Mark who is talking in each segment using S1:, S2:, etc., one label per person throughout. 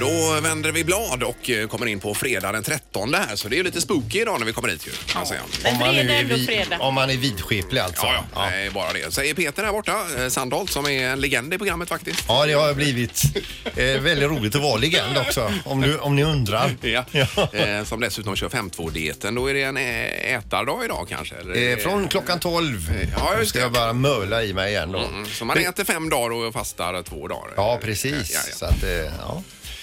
S1: så vänder vi blad och eh, kommer in på fredag den 13 här. Så det är ju lite spooky idag när vi kommer hit ju. kan man säga.
S2: Men
S3: man
S2: fredag är
S3: nu
S2: ändå
S3: vid-
S2: fredag.
S3: Om man är vidskeplig alltså.
S1: Ja, ja, Nej, bara det. Säger Peter här borta, eh, Sandholt, som är en legend i programmet faktiskt.
S3: Ja, det har blivit eh, väldigt roligt att vara legend också, om, du, om ni undrar.
S1: Ja. Eh, som dessutom kör 5.2-dieten. Då är det en eh, ätardag idag kanske? Eller?
S3: Eh, från klockan 12
S1: Ja, just
S3: ska
S1: det.
S3: jag bara möla i mig igen då.
S1: Mm, Så man äter fem dagar och fastar två dagar?
S3: Ja, precis.
S1: Ja, Mm. ja.
S3: Så att, eh, ja.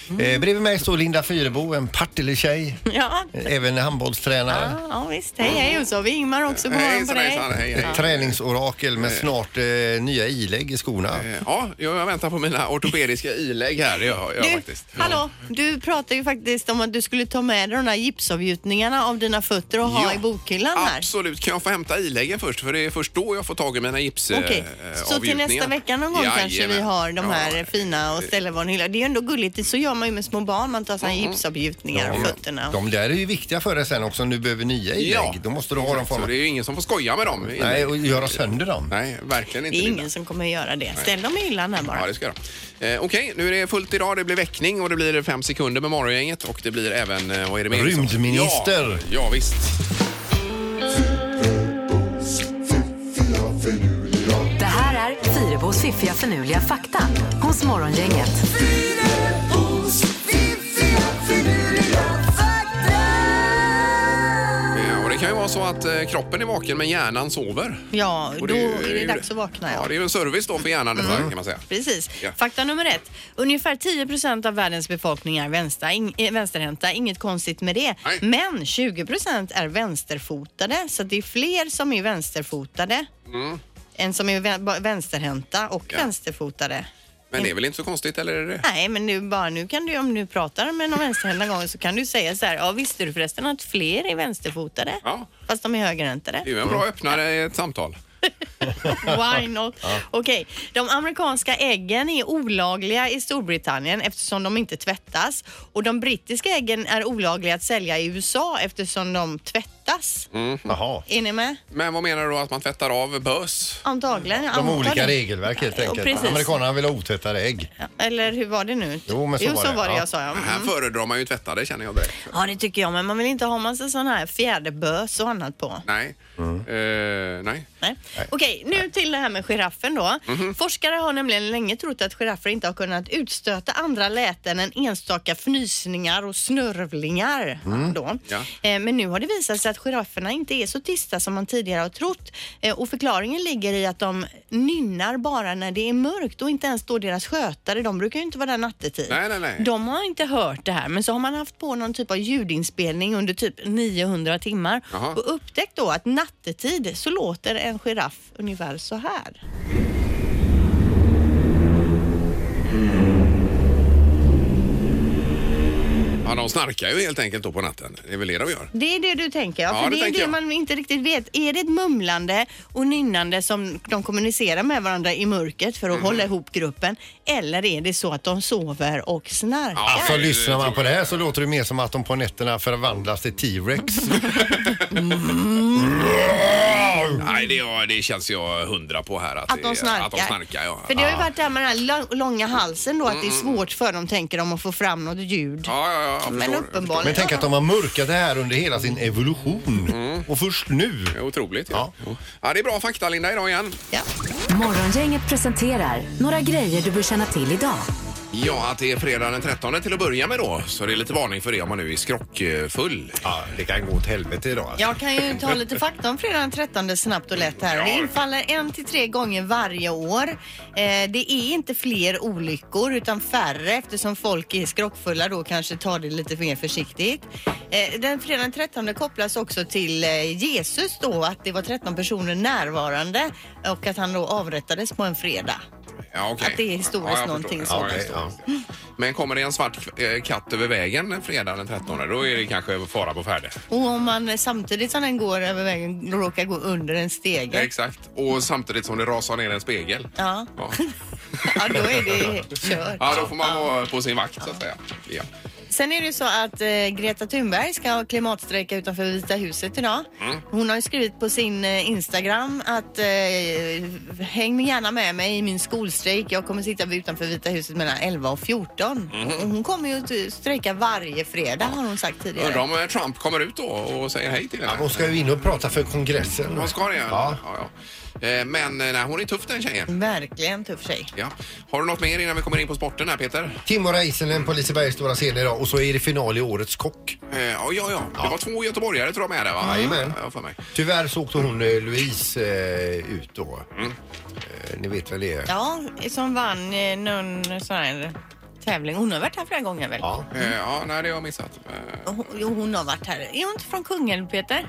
S3: Eh, bredvid mig står Linda Fyrebo, en Partille-tjej,
S2: Ja,
S3: eh, även handbollstränare.
S1: Ah.
S2: ja, ja visst. Hej, hej. Och så har vi Ingmar också. God morgon på
S1: Hejsan,
S2: dig.
S1: hejsan, hej, hej.
S3: Ett träningsorakel med snart eh, nya ilägg i skorna.
S1: Eh, Ja, jag jag väntar på mina ortopediska ilägg här. Det gör jag
S2: Du,
S1: faktiskt.
S2: hallå, du pratade ju faktiskt om att du skulle ta med dig de där gipsavgjutningarna av dina fötter och ha i bokhyllan här.
S1: Absolut. Kan jag få hämta iläggen först? För det är först då jag får tag i mina gips eh,
S2: Okej, så till
S1: avgjutningar.
S2: nästa vecka någon gång kanske vi
S1: Jajamän.
S2: har de
S1: Ja.
S2: här fina och ställer var hylla. Det är ju ändå gulligt, det- så gör man ju med små barn, man tar
S1: Mhm.
S2: sådana gipsavgjutningar av fötterna.
S3: De där är ju viktiga för dig sen också om du behöver nya ilägg.
S1: Ja.
S3: Då måste du ha dem
S1: Så
S3: form.
S1: det är ju ingen som får skoja med dem. ilägg.
S3: Nej, och göra sönder dem.
S1: Nej, verkligen inte.
S2: Det är
S1: Linda.
S2: ingen som kommer göra det. Ställ dem i hyllan här
S1: Ja,
S2: bara.
S1: det ska jag göra. eh, Okej, nu är det fullt idag. Det blir väckning och det blir fem sekunder med morgongänget och det blir även, eh, vad är det mer?
S3: Rymdminister.
S1: Ja, ja visst.
S4: Det här är Fyrabos fiffiga förnuliga fakta hos Morgongänget.
S1: Eh, Och det kan ju vara så att eh, kroppen är vaken men hjärnan sover.
S2: Ja,
S1: Och
S2: då är det
S1: ju-
S2: dags att vakna. Mm.
S1: Ja, det är ju en service då för hjärnan detta kan man säga.
S2: Precis.
S1: Ja.
S2: Fakta nummer ett. Ungefär 10 procent av världens befolkning är vänster, in, eh, vänsterhänta. Inget konstigt med det.
S1: Nej.
S2: Men 20 procent är vänsterfotade. Så det är fler som är vänsterfotade än som är vä- ba- vänsterhänta och
S1: Mm. Ja.
S2: vänsterfotade.
S1: Men det
S2: Mm.
S1: är väl inte så konstigt, eller är det det?
S2: Nej, men nu, bara, nu kan du, om du pratar med någon vänsterhänt någon gång så kan du säga så här. Ja, visste du förresten att fler är vänsterfotade?
S1: Ja.
S2: Fast de är högerhäntade.
S1: Det är ju en bra öppnare i ett samtal.
S2: Why not? Okej, de amerikanska äggen är olagliga i Storbritannien eftersom de inte tvättas och de brittiska äggen är olagliga att sälja i USA eftersom de tvättas.
S3: Mm. Jaha.
S2: Är ni med?
S1: Men vad menar du då att man tvättar av bös?
S2: Antagligen. jag
S3: De
S2: antar
S3: olika
S2: det.
S3: regelverk helt
S2: Ja,
S3: enkelt.
S2: precis.
S3: Amerikanerna vill ha otvättade ägg.
S2: Ja, Eller hur var det nu?
S3: Jo, men så var det. Ja.
S2: jag sa. Ja.
S1: Här föredrar man ju tvättade känner jag direkt.
S2: ja, det tycker jag. Men man vill inte ha massa sån här fjäderbös och annat på.
S1: Nej.
S2: Mm.
S1: Eh, nej.
S2: Nej. Okej, nu till det här med giraffen då. Forskare har nämligen länge trott att giraffer inte har kunnat utstöta andra läten än enstaka fnysningar och snörvlingar. Då.
S1: Ja.
S2: Eh, Men nu har det visat sig att girafferna inte är så tysta som man tidigare har trott. Eh, Och förklaringen ligger i att de nynnar bara när det är mörkt och inte ens då deras skötare, de brukar ju inte vara där nattetid.
S1: Nej, nej, nej.
S2: De har inte hört det här men så har man haft på någon typ av ljudinspelning under typ 900 timmar
S1: Jaha.
S2: och upptäckt då att nattetid så låter en giraff ungefär så här.
S1: Ja, de snarkar ju helt enkelt då på natten. Det är väl det de gör.
S2: Det är det du tänker? Ja,
S1: Ja,
S2: för
S1: det
S2: det, är
S1: tänker
S2: det
S1: jag.
S2: man inte riktigt vet. Är det ett mumlande och nynnande som de kommunicerar med varandra i mörkret för att
S1: Mhm.
S2: hålla ihop gruppen? Eller är det så att de sover och snarkar?
S1: Ja,
S3: Alltså
S1: det-
S3: lyssnar man på det här så låter det mer som att de på nätterna förvandlas till T-Rex.
S1: Nej, det, ja, det känns jag hundra på här. Att,
S2: Att de
S1: det-
S2: snarkar.
S1: Att de snarkar, ja. Mm,
S2: För det har ju varit det här med den här lång- långa halsen då, att det är svårt för dem, tänker de, att få fram något ljud.
S1: Ja, ja, ja, jag
S2: Men
S1: förstår.
S2: uppenbarligen.
S3: Men tänk att de har mörkat det här under hela sin evolution. Och först nu.
S1: Det är otroligt. Ja.
S3: Ja.
S1: Ja. det är bra fakta, Linda, idag igen.
S2: Ja.
S4: Morgongänget presenterar några grejer du bör känna till idag.
S1: Ja, att det är fredag den 13 till att börja med då. Så det är lite varning för det om man nu är skrockfull.
S3: Ja, det kan gå åt helvete idag. alltså.
S2: Jag kan ju ta lite fakta om fredagen den 13 snabbt och lätt här. Det infaller en till tre gånger varje år. Eh, det är inte fler olyckor utan färre eftersom folk är skrockfulla då kanske tar det lite mer försiktigt. Eh, den fredagen den 13 kopplas också till eh, Jesus då att det var 13 personer närvarande och att han då avrättades på en fredag.
S1: Ja, okej.
S2: Att det är historiskt
S1: jag
S2: någonting
S1: förstår.
S2: så.
S1: jag
S3: Okej,
S1: förstår. Men kommer det en svart eh, katt över vägen fredag den 13, då är det kanske fara på färde.
S2: Och om man eh, samtidigt som den går över vägen råkar gå under en stege.
S1: Exakt. Och samtidigt som det rasar ner en spegel.
S2: Ja.
S1: Ja,
S2: ja, då är det kört.
S1: ja då får man vara på sin vakt så att säga. Ja.
S2: Sen är det ju så att eh, Greta Thunberg ska ha klimatstrejka utanför Vita huset idag. Hon har ju skrivit på sin eh, Instagram att eh, häng gärna med mig i min skolstrejk. Jag kommer sitta utanför Vita huset mellan 11 och 14. Och Hon kommer ju att eh, strejka varje fredag har hon sagt
S1: Undrar
S2: tidigare.
S1: om eh, Trump kommer ut då och säger hej till henne.
S3: Hon ska ju in och prata för kongressen.
S1: Hon ska det ja.
S3: Ja.
S1: Ja, ja. Eh, Men eh, nej, hon är tuff den tjejen.
S2: Verkligen tuff tjej.
S1: Ja. Har du något mer innan vi kommer in på sporten här Peter?
S3: Timo Räisänen på Lisebergs stora scen idag och så är det final i Årets kock.
S1: Eh, Ja, ja, ja. Det var två göteborgare tror jag med där va?
S3: Jajamän.
S1: Ja, för mig.
S3: Tyvärr så åkte hon eh, Louise eh, ut då. Eh, ni vet väl det?
S2: Ja, som vann eh, någon sån här tävling. Hon har varit här flera gånger väl?
S3: Ja.
S1: Eh, Ja, nej det har jag missat. Eh,
S2: Hon- Jo, hon har varit här. Är hon inte från Kungälv, Peter?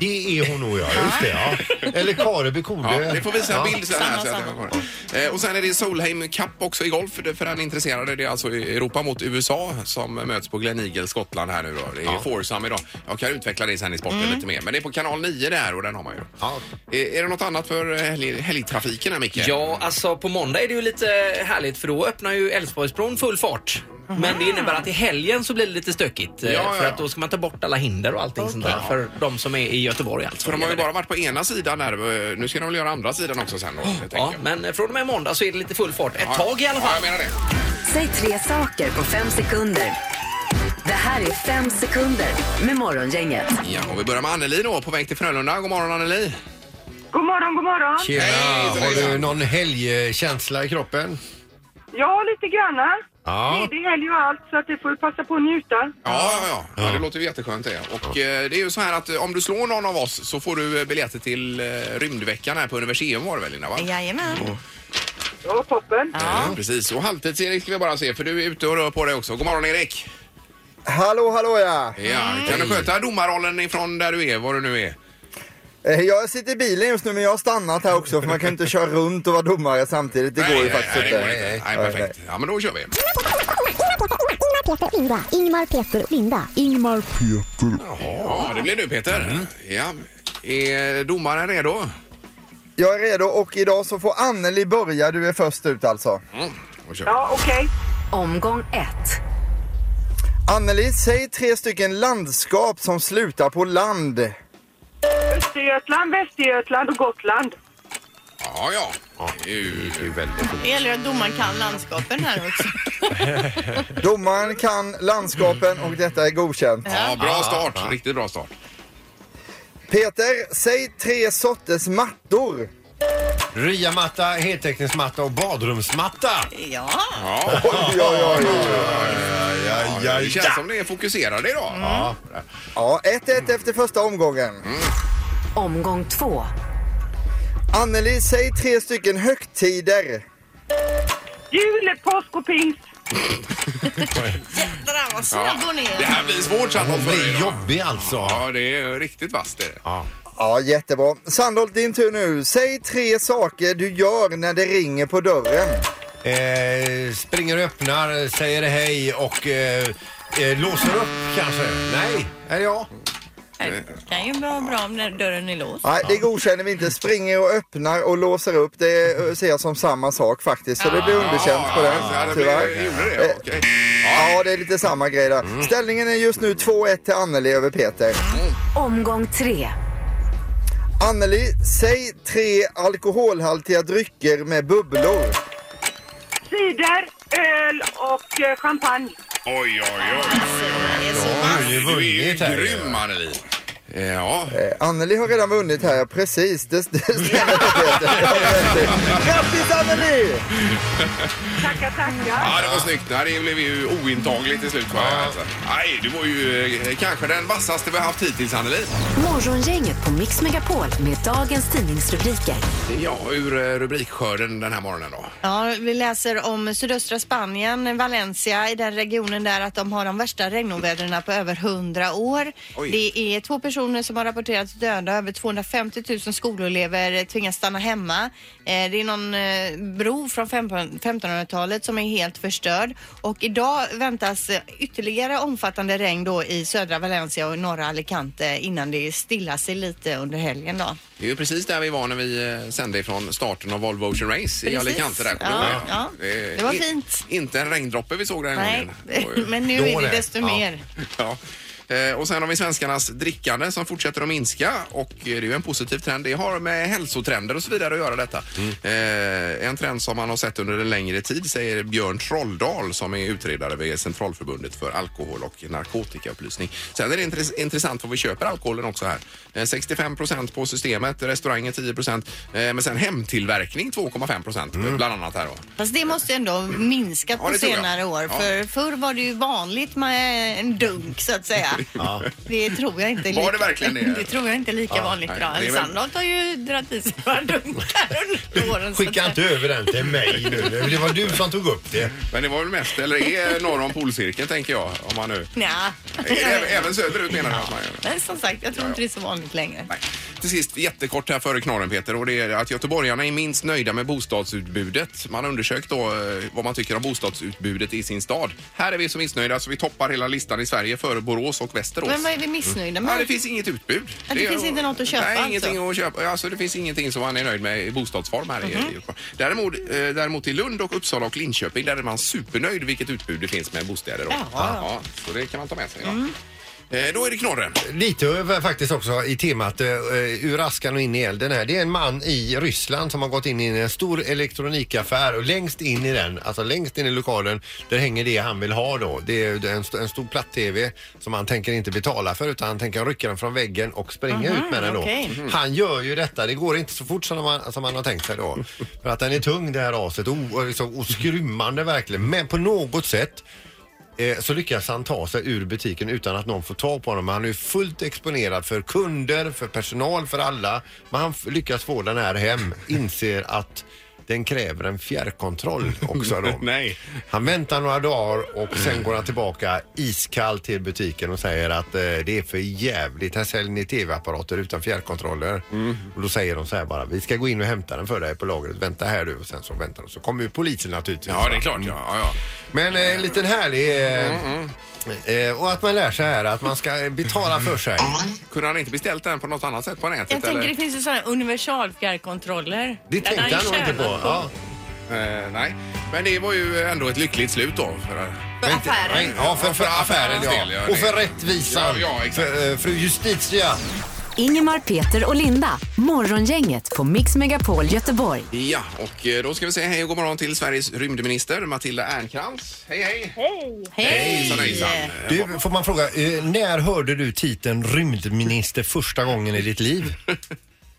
S3: Det är hon nog ja, just det. Ja. Eller Kareby
S1: Ja,
S3: Kode.
S1: det får visa en bild sen här.
S2: Samma,
S1: så att jag kommer ihåg. Eh, Och sen är det Solheim Cup också i golf det- för den intresserade. Det är alltså Europa mot USA som möts på Glen Eagle, Skottland här nu då. Det är ja. Foursome idag. Jag kan utveckla det sen i sporten
S2: Mm.
S1: lite mer. Men det är på kanal 9 där och den har man ju.
S3: Ja.
S1: Eh, Är det något annat för helg- helgtrafiken här Micke?
S5: Ja, alltså på måndag är det ju lite härligt för då öppnar ju Älvsborgsbron full fart. Men det innebär att i helgen så blir det lite stökigt.
S1: Ja,
S5: eh,
S1: ja,
S5: För
S1: ja.
S5: att då ska man ta bort alla hinder och allting sånt där för de som är i Göteborg alltså.
S1: För de har ju bara varit på ena sidan där. Eh, Nu ska de väl göra andra sidan också sen då. tänker
S5: Ja,
S1: jag.
S5: men eh, från och med måndag så är det lite full fart. Ett tag i alla
S1: Ja,
S5: fall.
S1: jag menar det.
S4: Säg tre saker på fem sekunder. Det här är fem sekunder med Morgongänget.
S1: Ja, och vi börjar med Anneli då, på väg till Frölunda. God morgon Anneli!
S6: God morgon, god morgon.
S3: Tjena!
S1: Hej,
S3: Har
S1: Therese.
S3: du någon helgkänsla i kroppen?
S6: Ja, lite granna.
S3: Ja.
S6: Det är helg och allt, så att det får vi passa på att njuta.
S1: Ja, ja, ja. ja. det låter ju jätteskönt det. Och eh, det är ju så här att eh, om du slår någon av oss så får du eh, biljetter till eh, rymdveckan här på Universium var det väl Linda? Va?
S2: Jajamän.
S6: Ja, toppen.
S1: Eh, Precis, och halvtids-Erik ska vi bara se för du är ute och rör på dig också. God morgon Erik!
S7: Hallå, hallå ja!
S1: Ja, kan du sköta domarrollen ifrån där du är, var du nu är?
S7: Eh, Jag sitter i bilen just nu men jag har stannat här också för man kan inte köra runt och vara domare samtidigt. Det går ju faktiskt
S1: nej,
S7: inte.
S1: det går inte. Nej, perfekt. Ja, men då kör vi.
S8: Ingmar, Peter, Linda. Ingmar, Peter, Linda. Ingmar,
S1: Ja, det blir du Peter. Ja. Är domaren redo?
S7: Jag är redo och idag så får Anneli börja. Du är först ut alltså.
S1: Mm. Då kör vi.
S6: Ja, okej.
S4: Omgång ett.
S7: Anneli, säg tre stycken landskap som slutar på land.
S6: Östergötland, Västergötland och Gotland.
S1: Ja, ja. Det är ju-
S2: Det gäller att domaren kan landskapen här också.
S7: Domaren kan landskapen och detta är godkänt.
S1: Ja, bra start. Riktigt bra start.
S7: Peter, säg tre sorters mattor.
S3: Ryamatta, heltäckningsmatta och badrumsmatta.
S2: Ja,
S1: Ja.
S7: Oj, oj, oj.
S1: Ja, det känns som ni är fokuserade idag. Ja.
S7: Ja, 1-1 efter första omgången.
S4: Omgång två.
S7: Anneli, säg tre stycken högtider.
S6: Jul, påsk och pingst.
S2: det där var snabb och
S1: Det
S2: ner.
S1: här blir svårt Sandholt
S3: Hon
S1: för dig
S3: blir
S1: idag.
S3: jobbig alltså.
S1: Ja, det är riktigt vasst det.
S7: Ja, jättebra. Sandholt, din tur nu. Säg tre saker du gör när det ringer på dörren.
S3: Eh, springer och öppnar, säger hej och eh, eh, låser upp kanske. Nej, är det jag?
S2: Det kan ju vara bra om när dörren är låst.
S7: Nej, det godkänner vi inte. Springer och öppnar och låser upp. Det eh, ser jag som samma sak faktiskt. Så det blir underkänt på
S1: Ah. Ja,
S7: den,
S1: det blir,
S7: tyvärr. Eh.
S1: gjorde det. Okej. Mm.
S7: Ja, det är lite samma grej där. Ställningen är just nu 2-1 till Anneli över Peter.
S4: Omgång tre.
S7: Anneli, säg tre alkoholhaltiga drycker med bubblor.
S6: Cider, öl och eh, champagne.
S1: Oj, oj, oj.
S2: Alltså, Det är så
S3: Jag har ju
S1: Du är ju
S3: vunnit här.
S1: grym, Anneli. Ja,
S7: Eh, Anneli har redan vunnit här, ja, precis. Det, det stämmer Peter. Grattis Anneli!
S6: Tackar, tackar.
S1: ja det var snyggt. Det här blev ju ointagligt till slut. va? Alltså. Nej, du var ju eh, kanske den vassaste vi har haft hittills, Anneli.
S4: Morgongänget på Mix Megapol med dagens tidningsrubriker.
S1: Ja, ur eh, rubrikskörden den här morgonen då.
S2: Ja, vi läser om sydöstra Spanien, Valencia, i den regionen där att de har de värsta regnovädren på över 100 år.
S1: Oj.
S2: Det är två personer personer som har rapporterats döda. Över 250 000 skolelever eh, tvingas stanna hemma. Eh, Det är någon eh, bro från 15- 1500-talet som är helt förstörd. Och idag väntas eh, ytterligare omfattande regn då i södra Valencia och norra Alicante innan det stillar sig lite under helgen då.
S1: Det är ju precis där vi var när vi eh, sände ifrån starten av Volvo Ocean Race i
S2: Precis.
S1: Alicante. Där. Kommer
S2: Ja,
S1: du ihåg det?
S2: ja.
S1: Eh,
S2: Det var
S1: i-
S2: fint.
S1: Inte en regndroppe vi såg den
S2: Nej,
S1: gången. Det var ju-
S2: men nu
S3: Då
S2: är det
S3: det.
S2: desto
S3: Ja.
S2: mer.
S1: Ja. Eh, Och sen har vi svenskarnas drickande som fortsätter att minska och eh, det är ju en positiv trend. Det har med hälsotrender och så vidare att göra detta. Eh, en trend som man har sett under en längre tid säger Björn Trolldal som är utredare vid Centralförbundet för alkohol och narkotikaupplysning. Sen är det intress- intressant vad vi köper alkoholen också här. Eh, 65 procent på systemet, restaurangen 10 procent, eh, men sen hemtillverkning 2,5 procent bland annat här då.
S2: Fast det måste ändå minskat
S1: Ja,
S2: på
S1: det tror jag.
S2: senare år.
S1: Ja.
S2: För förr var det ju vanligt med en dunk så att säga. Det tror jag inte är
S1: Var
S2: lika,
S1: det verkligen det?
S2: Det tror jag inte är lika vanligt
S1: nej,
S2: idag.
S1: det är väl-
S2: Sandholt har ju dragit i sig några dunkar under åren. så
S3: Skicka
S2: att-
S3: inte över den till mig nu. Det var du som tog upp det.
S1: Men det var väl mest, eller är norr om polcirkeln tänker jag om man nu...
S2: Nja.
S1: Ä- Även söderut menar du att man gör det?
S2: Men som sagt, jag tror inte det är så vanligt längre.
S1: Nej. Till sist, jättekort här före knorren Peter och det är att göteborgarna är minst nöjda med bostadsutbudet. Man har undersökt då eh, vad man tycker om bostadsutbudet i sin stad. Här är vi så missnöjda så vi toppar hela listan i Sverige före Borås och Västerås.
S2: Men vad är vi missnöjda
S1: Mm. Ja, det
S2: med?
S1: finns inget utbud.
S2: Ja, det finns inte något att köpa,
S1: Nej,
S2: alltså.
S1: ingenting att köpa. Alltså, det finns ingenting som man är nöjd med i bostadsform här i-
S2: Mhm.
S1: i Göteborg. Däremot, eh, däremot i Lund och Uppsala och Linköping där är man supernöjd vilket utbud det finns med bostäder. Då.
S2: Ja. Mm.
S1: Ja, så det kan man ta med sig. Ja. Eh, då är det knorren.
S3: Lite över faktiskt också i temat eh, ur askan och in i elden här. Det är en man i Ryssland som har gått in i en stor elektronikaffär och längst in i den, alltså längst in i lokalen, där hänger det han vill ha då. Det är en, st- en stor platt-tv som han tänker inte betala för utan han tänker rycka den från väggen och springa ut med den då.
S2: okej.
S3: Han gör ju detta, det går inte så fort som man, som man har tänkt sig då. För att den är tung det här aset och, och, liksom, och skrymmande verkligen. Men på något sätt Eh, så lyckas han ta sig ur butiken utan att någon får tag på honom. Han är ju fullt exponerad för kunder, för personal, för alla. Men han f- lyckas få den här hem, inser att den kräver en fjärrkontroll också då.
S1: Nej.
S3: Han väntar några dagar och sen går han tillbaka iskall till butiken och säger att eh, det är för jävligt. Här säljer ni tv-apparater utan fjärrkontroller.
S1: Mm.
S3: Och då säger de så här bara, vi ska gå in och hämta den för dig på lagret. Vänta här du och sen så väntar de. Så kommer ju polisen naturligtvis.
S1: Ja, det är
S3: va?
S1: klart. Ja, ja, ja.
S3: Men eh, en liten härlig... Eh, eh, och att man lär sig här att man ska eh, betala för sig.
S1: Kunde han inte beställt den på något annat sätt på nätet?
S2: Jag tänker
S1: eller?
S2: det finns ju sådana universal fjärrkontroller.
S3: Det tänkte han nog inte på. Ja.
S1: Eh, nej, men det var ju ändå ett lyckligt slut då. För,
S2: För affären.
S3: Nej, ja, för, för affärens
S1: Ja.
S3: del. Ja. Och för rättvisan.
S1: Ja, ja, exakt.
S3: för, eh, fru Justitia.
S4: Ingemar, Peter och Linda. Morgongänget på Mix Megapol Göteborg.
S1: ja, och eh, då ska vi säga hej och god morgon till Sveriges rymdminister Matilda Ernkrans. Hej, hej! Hejsan, hejsan.
S3: Du, får man fråga, eh, när hörde du titeln rymdminister första gången i ditt liv?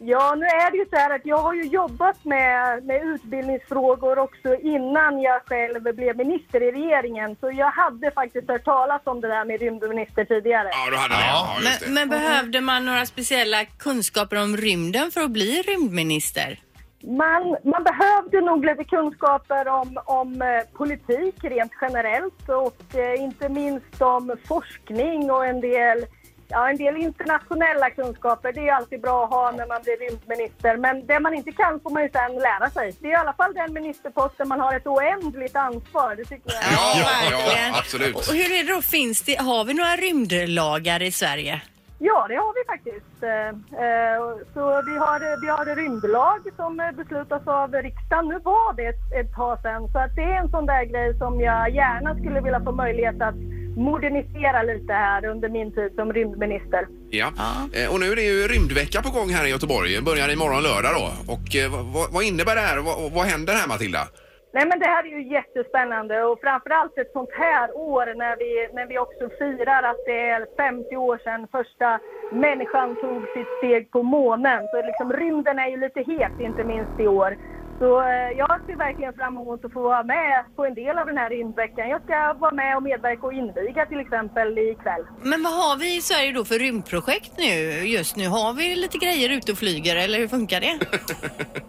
S6: Ja, nu är det ju så här att jag har ju jobbat med, med utbildningsfrågor också innan jag själv blev minister i regeringen. Så jag hade faktiskt hört talas om det där med rymdminister tidigare.
S1: Ja, du hade det.
S3: Ja.
S1: Ja, just det.
S2: Men, men behövde man några speciella kunskaper om rymden för att bli rymdminister?
S6: Man, man behövde nog lite kunskaper om, om eh, politik rent generellt och eh, inte minst om forskning och en del, ja, en del internationella kunskaper. Det är ju alltid bra att ha när man blir rymdminister. Men det man inte kan får man ju sen lära sig. Det är i alla fall den ministerposten man har ett oändligt ansvar. Det tycker jag.
S1: Ja, ja,
S2: verkligen.
S1: absolut.
S2: Och hur är det då, finns det, har vi några rymdlagar i Sverige?
S6: Ja, det har vi faktiskt. Eh, eh, Så vi har, vi har en rymdlag som eh, beslutas av riksdagen. Nu var det ett, ett tag sedan, så att det är en sån där grej som jag gärna skulle vilja få möjlighet att modernisera lite här under min tid som rymdminister.
S1: Ja. Eh, Och nu är det ju rymdvecka på gång här i Göteborg. Börjar imorgon lördag då. Och eh, vad- vad, vad innebär det här och vad, vad händer här Matilda?
S6: Nej men det här är ju jättespännande och framförallt ett sånt här år när vi, när vi också firar att det är 50 år sedan första människan tog sitt steg på månen. Så liksom rymden är ju lite het inte minst i år. Så eh, jag ser verkligen fram emot att få vara med på en del av den här rymdveckan. Jag ska vara med och medverka och inviga till exempel ikväll.
S2: Men vad har vi i Sverige då för rymdprojekt nu just nu? Har vi lite grejer ute och flyger eller hur funkar det?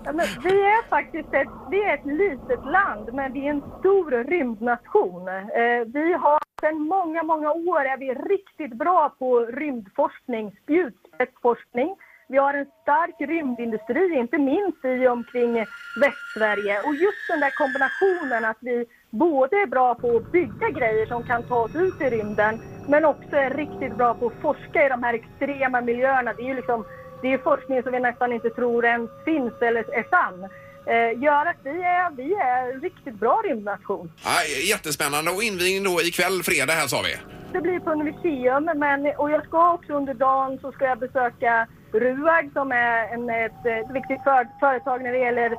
S6: Ja, men vi är faktiskt ett, vi är ett litet land, men vi är en stor rymdnation. Eh, vi har sedan många, många år är vi riktigt bra på rymdforskning, spjut, spetsforskning. Vi har en stark rymdindustri, inte minst i och omkring Västsverige. Och just den där kombinationen att vi både är bra på att bygga grejer som kan ta oss ut i rymden, men också är riktigt bra på att forska i de här extrema miljöerna. Det är ju liksom, det är ju forskning som vi nästan inte tror ens finns eller är sann. Eh, gör att vi är, vi är en riktigt bra rymdnation.
S1: Aj, jättespännande och invigning då ikväll fredag här sa vi.
S6: Det blir på Universium, men, och jag ska också under dagen så ska jag besöka RUAG som är en, ett, ett viktigt för, företag när det gäller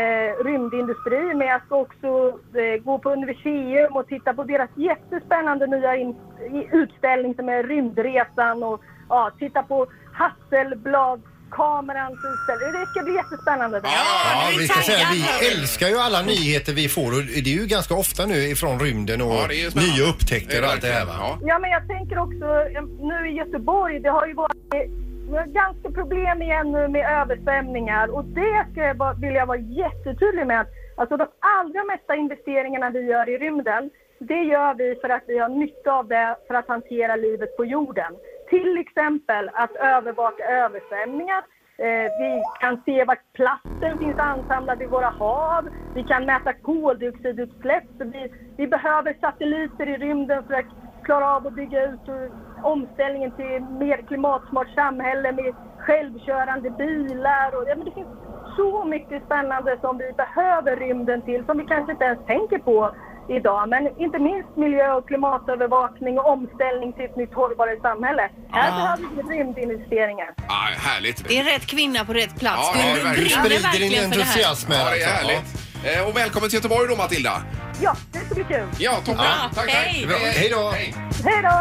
S6: eh, rymdindustri. Men jag ska också eh, gå på Universium och titta på deras jättespännande nya in, i, utställning som är Rymdresan och ja, titta på Hasselbladkamerans utställning. Det ska bli jättespännande.
S3: Ja,
S2: du är
S3: vi ska säga,
S2: taggad, hör
S3: vi
S2: du.
S3: älskar ju alla nyheter vi får och det är ju ganska ofta nu ifrån rymden och
S1: Ja, det är ju spännande.
S3: nya upptäckter och allt det här va?
S1: Ja.
S6: Ja, men jag tänker också eh, nu i Göteborg, det har ju varit eh, vi har ganska problem igen nu med översvämningar och det ska jag bara, vill jag vara jättetydlig med. Alltså de allra mesta investeringarna vi gör i rymden, det gör vi för att vi har nytta av det för att hantera livet på jorden. Till exempel att övervaka översvämningar. Eh, vi kan se var plasten finns ansamlad i våra hav. Vi kan mäta koldioxidutsläpp. Så Vi, vi behöver satelliter i rymden för att klara av att bygga ut eh, omställningen till mer klimatsmart samhälle med självkörande bilar. Och, ja, men det finns så mycket spännande som vi behöver rymden till som vi kanske inte ens tänker på idag. Men inte minst miljö och klimatövervakning och omställning till ett nytt hållbarare samhälle. Här behöver vi rymdinvesteringar.
S1: Aj, härligt.
S2: Det är rätt kvinna på rätt plats.
S1: Ja,
S2: du
S1: ja,
S2: du
S1: verkligen.
S3: Du
S2: brinner
S3: sprider
S2: verkligen
S3: din
S2: för det här.
S3: entusiasm här
S1: Ja, det är
S3: alltså.
S1: härligt. Eh, Och välkommen till Göteborg då Matilda.
S6: Ja, det ska bli kul.
S1: Ja, toppen.
S2: Ja,
S1: tack,
S2: hej.
S1: tack.
S3: Bra, hej då.
S6: Hej då!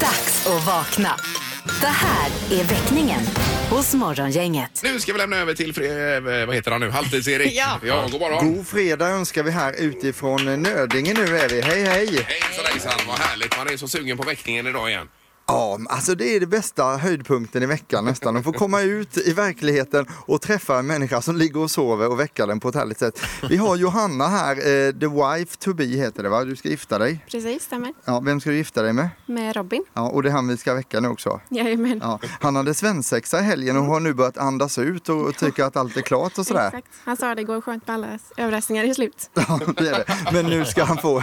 S4: Dags att vakna. Det här är väckningen hos Morgongänget.
S1: Nu ska vi lämna över till, fre- eh, vad heter han nu, Halvtids-Erik.
S2: Ja.
S1: ja, god morgon.
S7: God fredag önskar vi här utifrån Nödinge nu är vi. Hej hej!
S1: Hejsan hejsan, vad härligt. Man är så sugen på väckningen idag igen.
S7: Ja, alltså det är det bästa höjdpunkten i veckan nästan. Att få komma ut i verkligheten och träffa en människa som ligger och sover och väcka den på ett härligt sätt. Vi har Johanna här, eh, the wife to be heter det va? Du ska gifta dig.
S9: Precis, stämmer.
S7: Ja, vem ska du gifta dig med?
S9: Med Robin.
S7: Ja, och det är han vi ska väcka nu också.
S9: Jajamän.
S7: Ja, han hade svensexa i helgen och har nu börjat andas ut och tycker att allt är klart och sådär.
S9: Exakt. Han sa det går skönt med alla överraskningar i slut.
S7: Ja, det är det. Men nu ska han få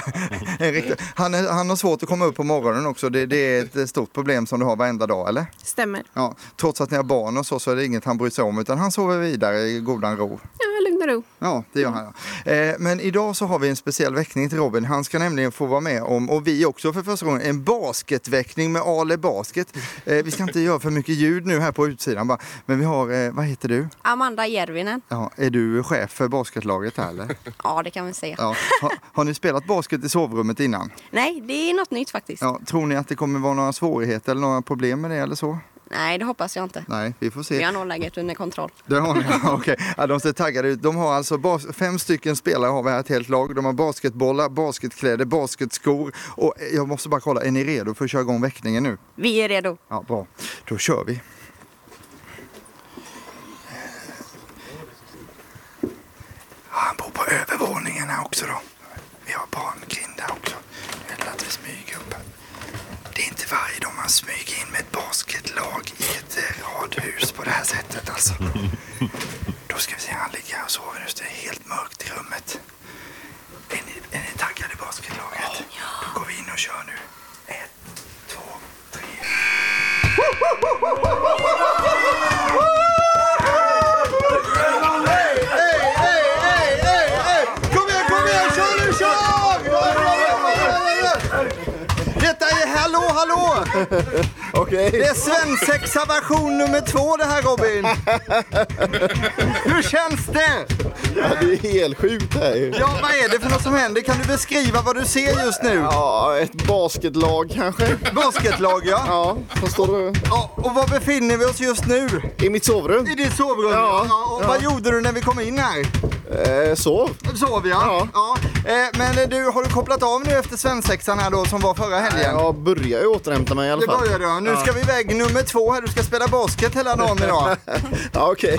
S7: en riktig... Han, är, han har svårt att komma upp på morgonen också. Det, det är ett stort problem som du har varenda dag, eller?
S9: Stämmer.
S7: Ja, trots att ni har barn och så, så är det inget han bryr sig om, utan han sover vidare i godan ro.
S9: Ja, lugn och ro.
S7: Ja, det gör
S9: Mm.
S7: han. ja. Eh, men idag så har vi en speciell väckning till Robin. Han ska nämligen få vara med om, och vi också för första gången, en basketväckning med Ale Basket. Eh, vi ska inte göra för mycket ljud nu här på utsidan bara. Men vi har, eh, vad heter du?
S9: Amanda Järvinen.
S7: Ja, är du chef för basketlaget här eller?
S9: Ja, det kan vi säga.
S7: Ja. Har, har ni spelat basket i sovrummet innan?
S9: Nej, det är något nytt faktiskt.
S7: Ja, tror ni att det kommer vara några svårigheter eller några problem med det eller så?
S9: Nej, det hoppas jag inte.
S7: Nej, vi får se.
S9: Vi har nog läget under kontroll.
S7: Det har ni, ja, okej. Ja, de ser taggade ut. De har alltså bas- fem stycken spelare har vi här, ett helt lag. De har basketbollar, basketkläder, basketskor och eh, jag måste bara kolla, är ni redo för att köra igång väckningen nu?
S9: Vi är redo.
S7: Ja, bra. Då kör vi. Han bor på övervåningen här också då. Vi har barngrind där också. Det är att vi smyger upp. Det är inte varje dag man smyger in med ett basketlag i ett eh, radhus på det här sättet alltså. Då ska vi se, han ligger här och sover nu så det är helt mörkt i rummet. Är ni, är ni taggade i basketlaget? Då går vi in och kör nu. Ett, två, tre. Kom igen, kom igen, kör nu, kör! Detta är Hallå hallå! Det är svensexa version nummer två det här Robin. Hur känns det?
S10: Ja, det är helt sjukt här ju.
S7: Ja, vad är det för något som händer? Kan du beskriva vad du ser just nu?
S10: Ja, ett basketlag kanske.
S7: Basketlag ja.
S10: Ja, som står
S7: ja. Och var befinner vi oss just nu?
S10: i mitt sovrum.
S7: I ditt sovrum?
S10: Ja.
S7: Ja, och vad
S10: Ja.
S7: gjorde du när vi kom in här?
S10: Eh,
S11: Eh, sov.
S7: Sov ja. ja. Eh, men eh, du, har du kopplat av nu efter svensexan här då som var förra helgen?
S11: Jag börjar ju återhämta mig i alla
S7: Det
S11: fall.
S7: börjar du. Nu ska vi iväg nummer två här. Du ska spela basket hela dagen idag.
S11: ja, okej.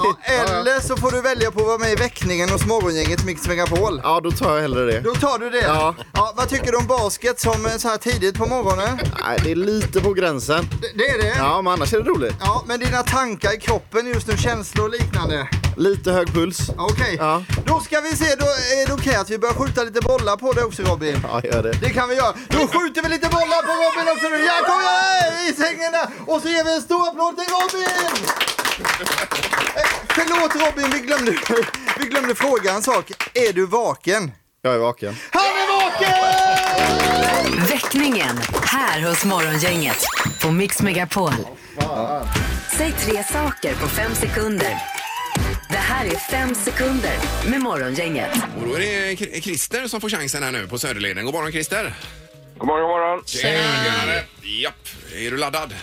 S7: Eller så får du välja på att vara med i väckningen hos morgongänget Mix Megapol.
S11: Ja, då tar jag hellre det.
S7: Då tar du det?
S11: Ja.
S7: ja. Vad tycker du om basket som eh, så här tidigt på morgonen?
S11: Nej, det är lite på gränsen.
S7: Det, det är det?
S11: Ja, men annars är det roligt.
S7: Ja, men dina tankar i kroppen just nu, känslor och liknande?
S11: Lite hög puls.
S7: Okej.
S11: Ja.
S7: Då ska vi se, då är det okej att vi börjar skjuta lite bollar på dig också Robin.
S11: Ja, gör det.
S7: Det kan vi göra. Då skjuter vi lite bollar på Robin också nu. Ja, kom igen! Hej, I sängen där! Och så ger vi en stor applåd till Robin! Eh, Förlåt Robin, vi glömde, vi glömde fråga en sak. Är du vaken?
S11: Jag är vaken.
S7: Han är vaken!
S4: Väckningen här hos Morgongänget på Mix Megapol. Säg tre saker på fem sekunder. Det här är fem sekunder med Morgongänget.
S1: Och då är det Kr- Christer som får chansen här nu på Söderleden. God morgon Christer!
S5: God morgon, god morgon.
S1: Tjenare! Japp, är du laddad?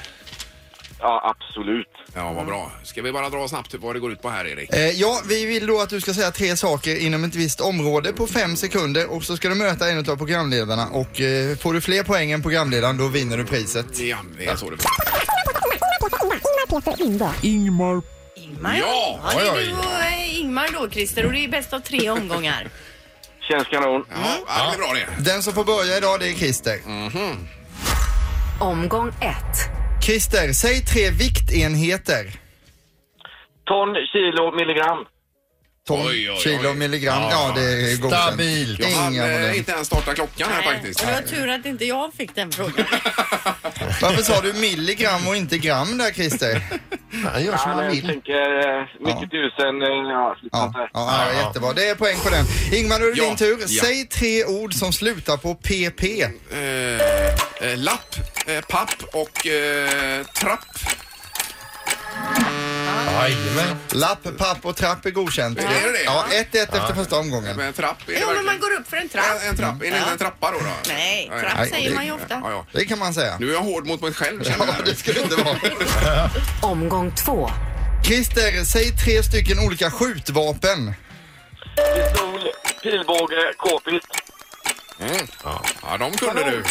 S5: Ja, absolut.
S1: Ja, vad bra. Ska vi bara dra snabbt vad det går ut på här Erik?
S7: Eh, ja, vi vill då att du ska säga tre saker inom ett visst område på fem sekunder och så ska du möta en av programledarna och eh, får du fler poäng än programledaren då vinner du priset.
S1: Ja, det är så det
S12: Ingmar, Peter, Linda.
S7: Ingmar.
S2: Ingmar.
S1: Ja,
S2: det är
S1: oj, oj.
S2: du och eh, Ingmar då Christer och det är bäst av tre omgångar.
S5: Känns kanon.
S1: Ja, det är bra det.
S7: Den som får börja idag det är Christer.
S1: Mm.
S4: Omgång ett.
S7: Christer, säg tre viktenheter.
S5: Ton, kilo, milligram.
S7: Ton,
S1: Oj, oj, oj.
S7: kilo, milligram. Ja, det är godkänt.
S3: Stabilt.
S1: Jag hann
S7: Inga
S1: eh,
S7: problem.
S1: inte ens starta klockan här faktiskt.
S2: Och det var tur att inte jag fick den frågan.
S7: Varför sa du milligram och inte gram där Christer?
S3: Han gör som
S5: Ja,
S3: han
S5: jag
S3: vill.
S5: tänker eh, mycket tusen. eh, Ja, lite sånt
S7: Ja,
S5: där.
S7: ja,
S3: Ja.
S7: jättebra. Det är poäng på den. Ingmar, nu är det
S1: Ja,
S7: din tur.
S1: ja.
S7: Säg tre ord som slutar på PP.
S1: Eh, eh, lapp, eh, papp och eh, trapp.
S3: Jajamän.
S7: Lapp, papp och trapp är godkänt.
S1: Är det det?
S7: Ja, 1-1 efter första omgången.
S1: Men trapp, är det
S2: Jo, men man
S1: verkligen?
S2: går upp för en trapp.
S1: En, en trapp, är det inte en trappa då? då?
S2: Nej, trapp
S1: Nej.
S2: säger man ju ofta.
S1: Ja, ja.
S7: Det kan man säga.
S1: Nu är jag hård mot mig själv känner
S7: Ja,
S1: jag.
S7: det skulle inte vara.
S4: Omgång två.
S7: Christer, säg tre stycken olika skjutvapen.
S5: Pistol, pilbåge, k-pist.
S1: Mm. Ja, de kunde du.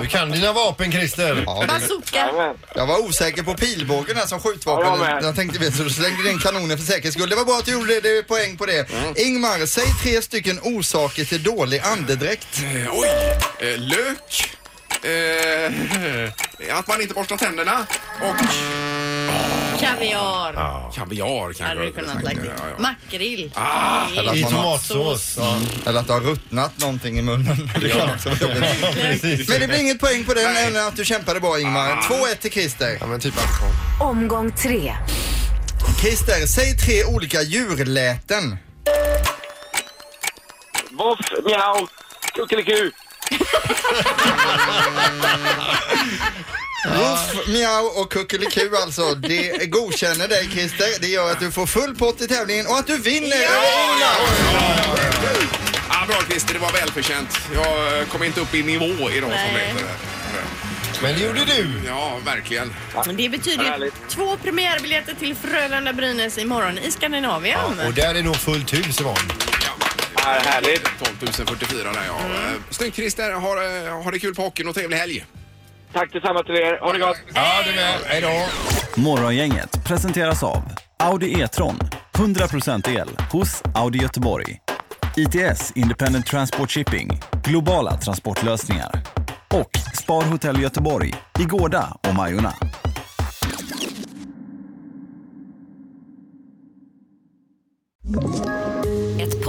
S3: Du kan dina vapen Christer.
S7: Ja, det-
S2: Bazooka.
S5: Jajamän.
S7: jag var osäker på pilbågen här som
S5: Ja,
S7: skjutvapen.
S5: jag med.
S7: Jag tänkte vet du, så slängde du in kanonen för säkerhets skull. Det var bra att du gjorde det, det är poäng på det. Ingmar, säg tre stycken orsaker till dålig andedräkt.
S1: Eh, Oj! Eh, lök. Eh, att man inte borstar tänderna. Och
S2: Kaviar.
S1: kaviar
S2: Hade
S1: kanske.
S2: du kunnat lägga till.
S1: Ja, Ah, ja.
S2: Makrill. Nej.
S3: I
S7: man har-
S3: tomatsås. Ja.
S7: Eller att det har ruttnat någonting i munnen. Det kan också vara jobbigt.
S3: Precis.
S7: Men det blir inget poäng på den, än att du kämpade bra Ingmar. 2-1 till Christer.
S3: Ja, men typ alkohol.
S4: Omgång tre.
S7: Christer, säg tre olika djurläten.
S5: Voff, miau, kuckeliku.
S7: Woof, miau och kuckeliku alltså. Det godkänner dig Christer. Det gör att du får full pott i tävlingen och att du vinner! över Ingmar.
S1: Ah, bra Christer, det var välförtjänt. Jag eh, kom inte upp i nivå idag som det
S2: Nej.
S1: heter.
S3: Men det gjorde du.
S1: Ja, verkligen.
S2: Men Det betyder
S5: Härligt.
S2: två premiärbiljetter till Frölunda-Brynäs imorgon i Skandinavien.
S3: Och där är nog fullt hus imorgon.
S1: Ja.
S5: Ja, härligt.
S1: 12 044 där ja. Mm. Snyggt Christer, ha, eh, ha det kul på hockeyn och trevlig helg.
S5: Tack detsamma till er. Ha det gott.
S3: Ja, du med. Hej då.
S13: Morgongänget presenteras av Audi E-tron. 100% el hos Audi Göteborg. ITS Independent Transport Shipping. Globala transportlösningar. Och Spar Hotel Göteborg i Gårda och Majorna.
S4: Ett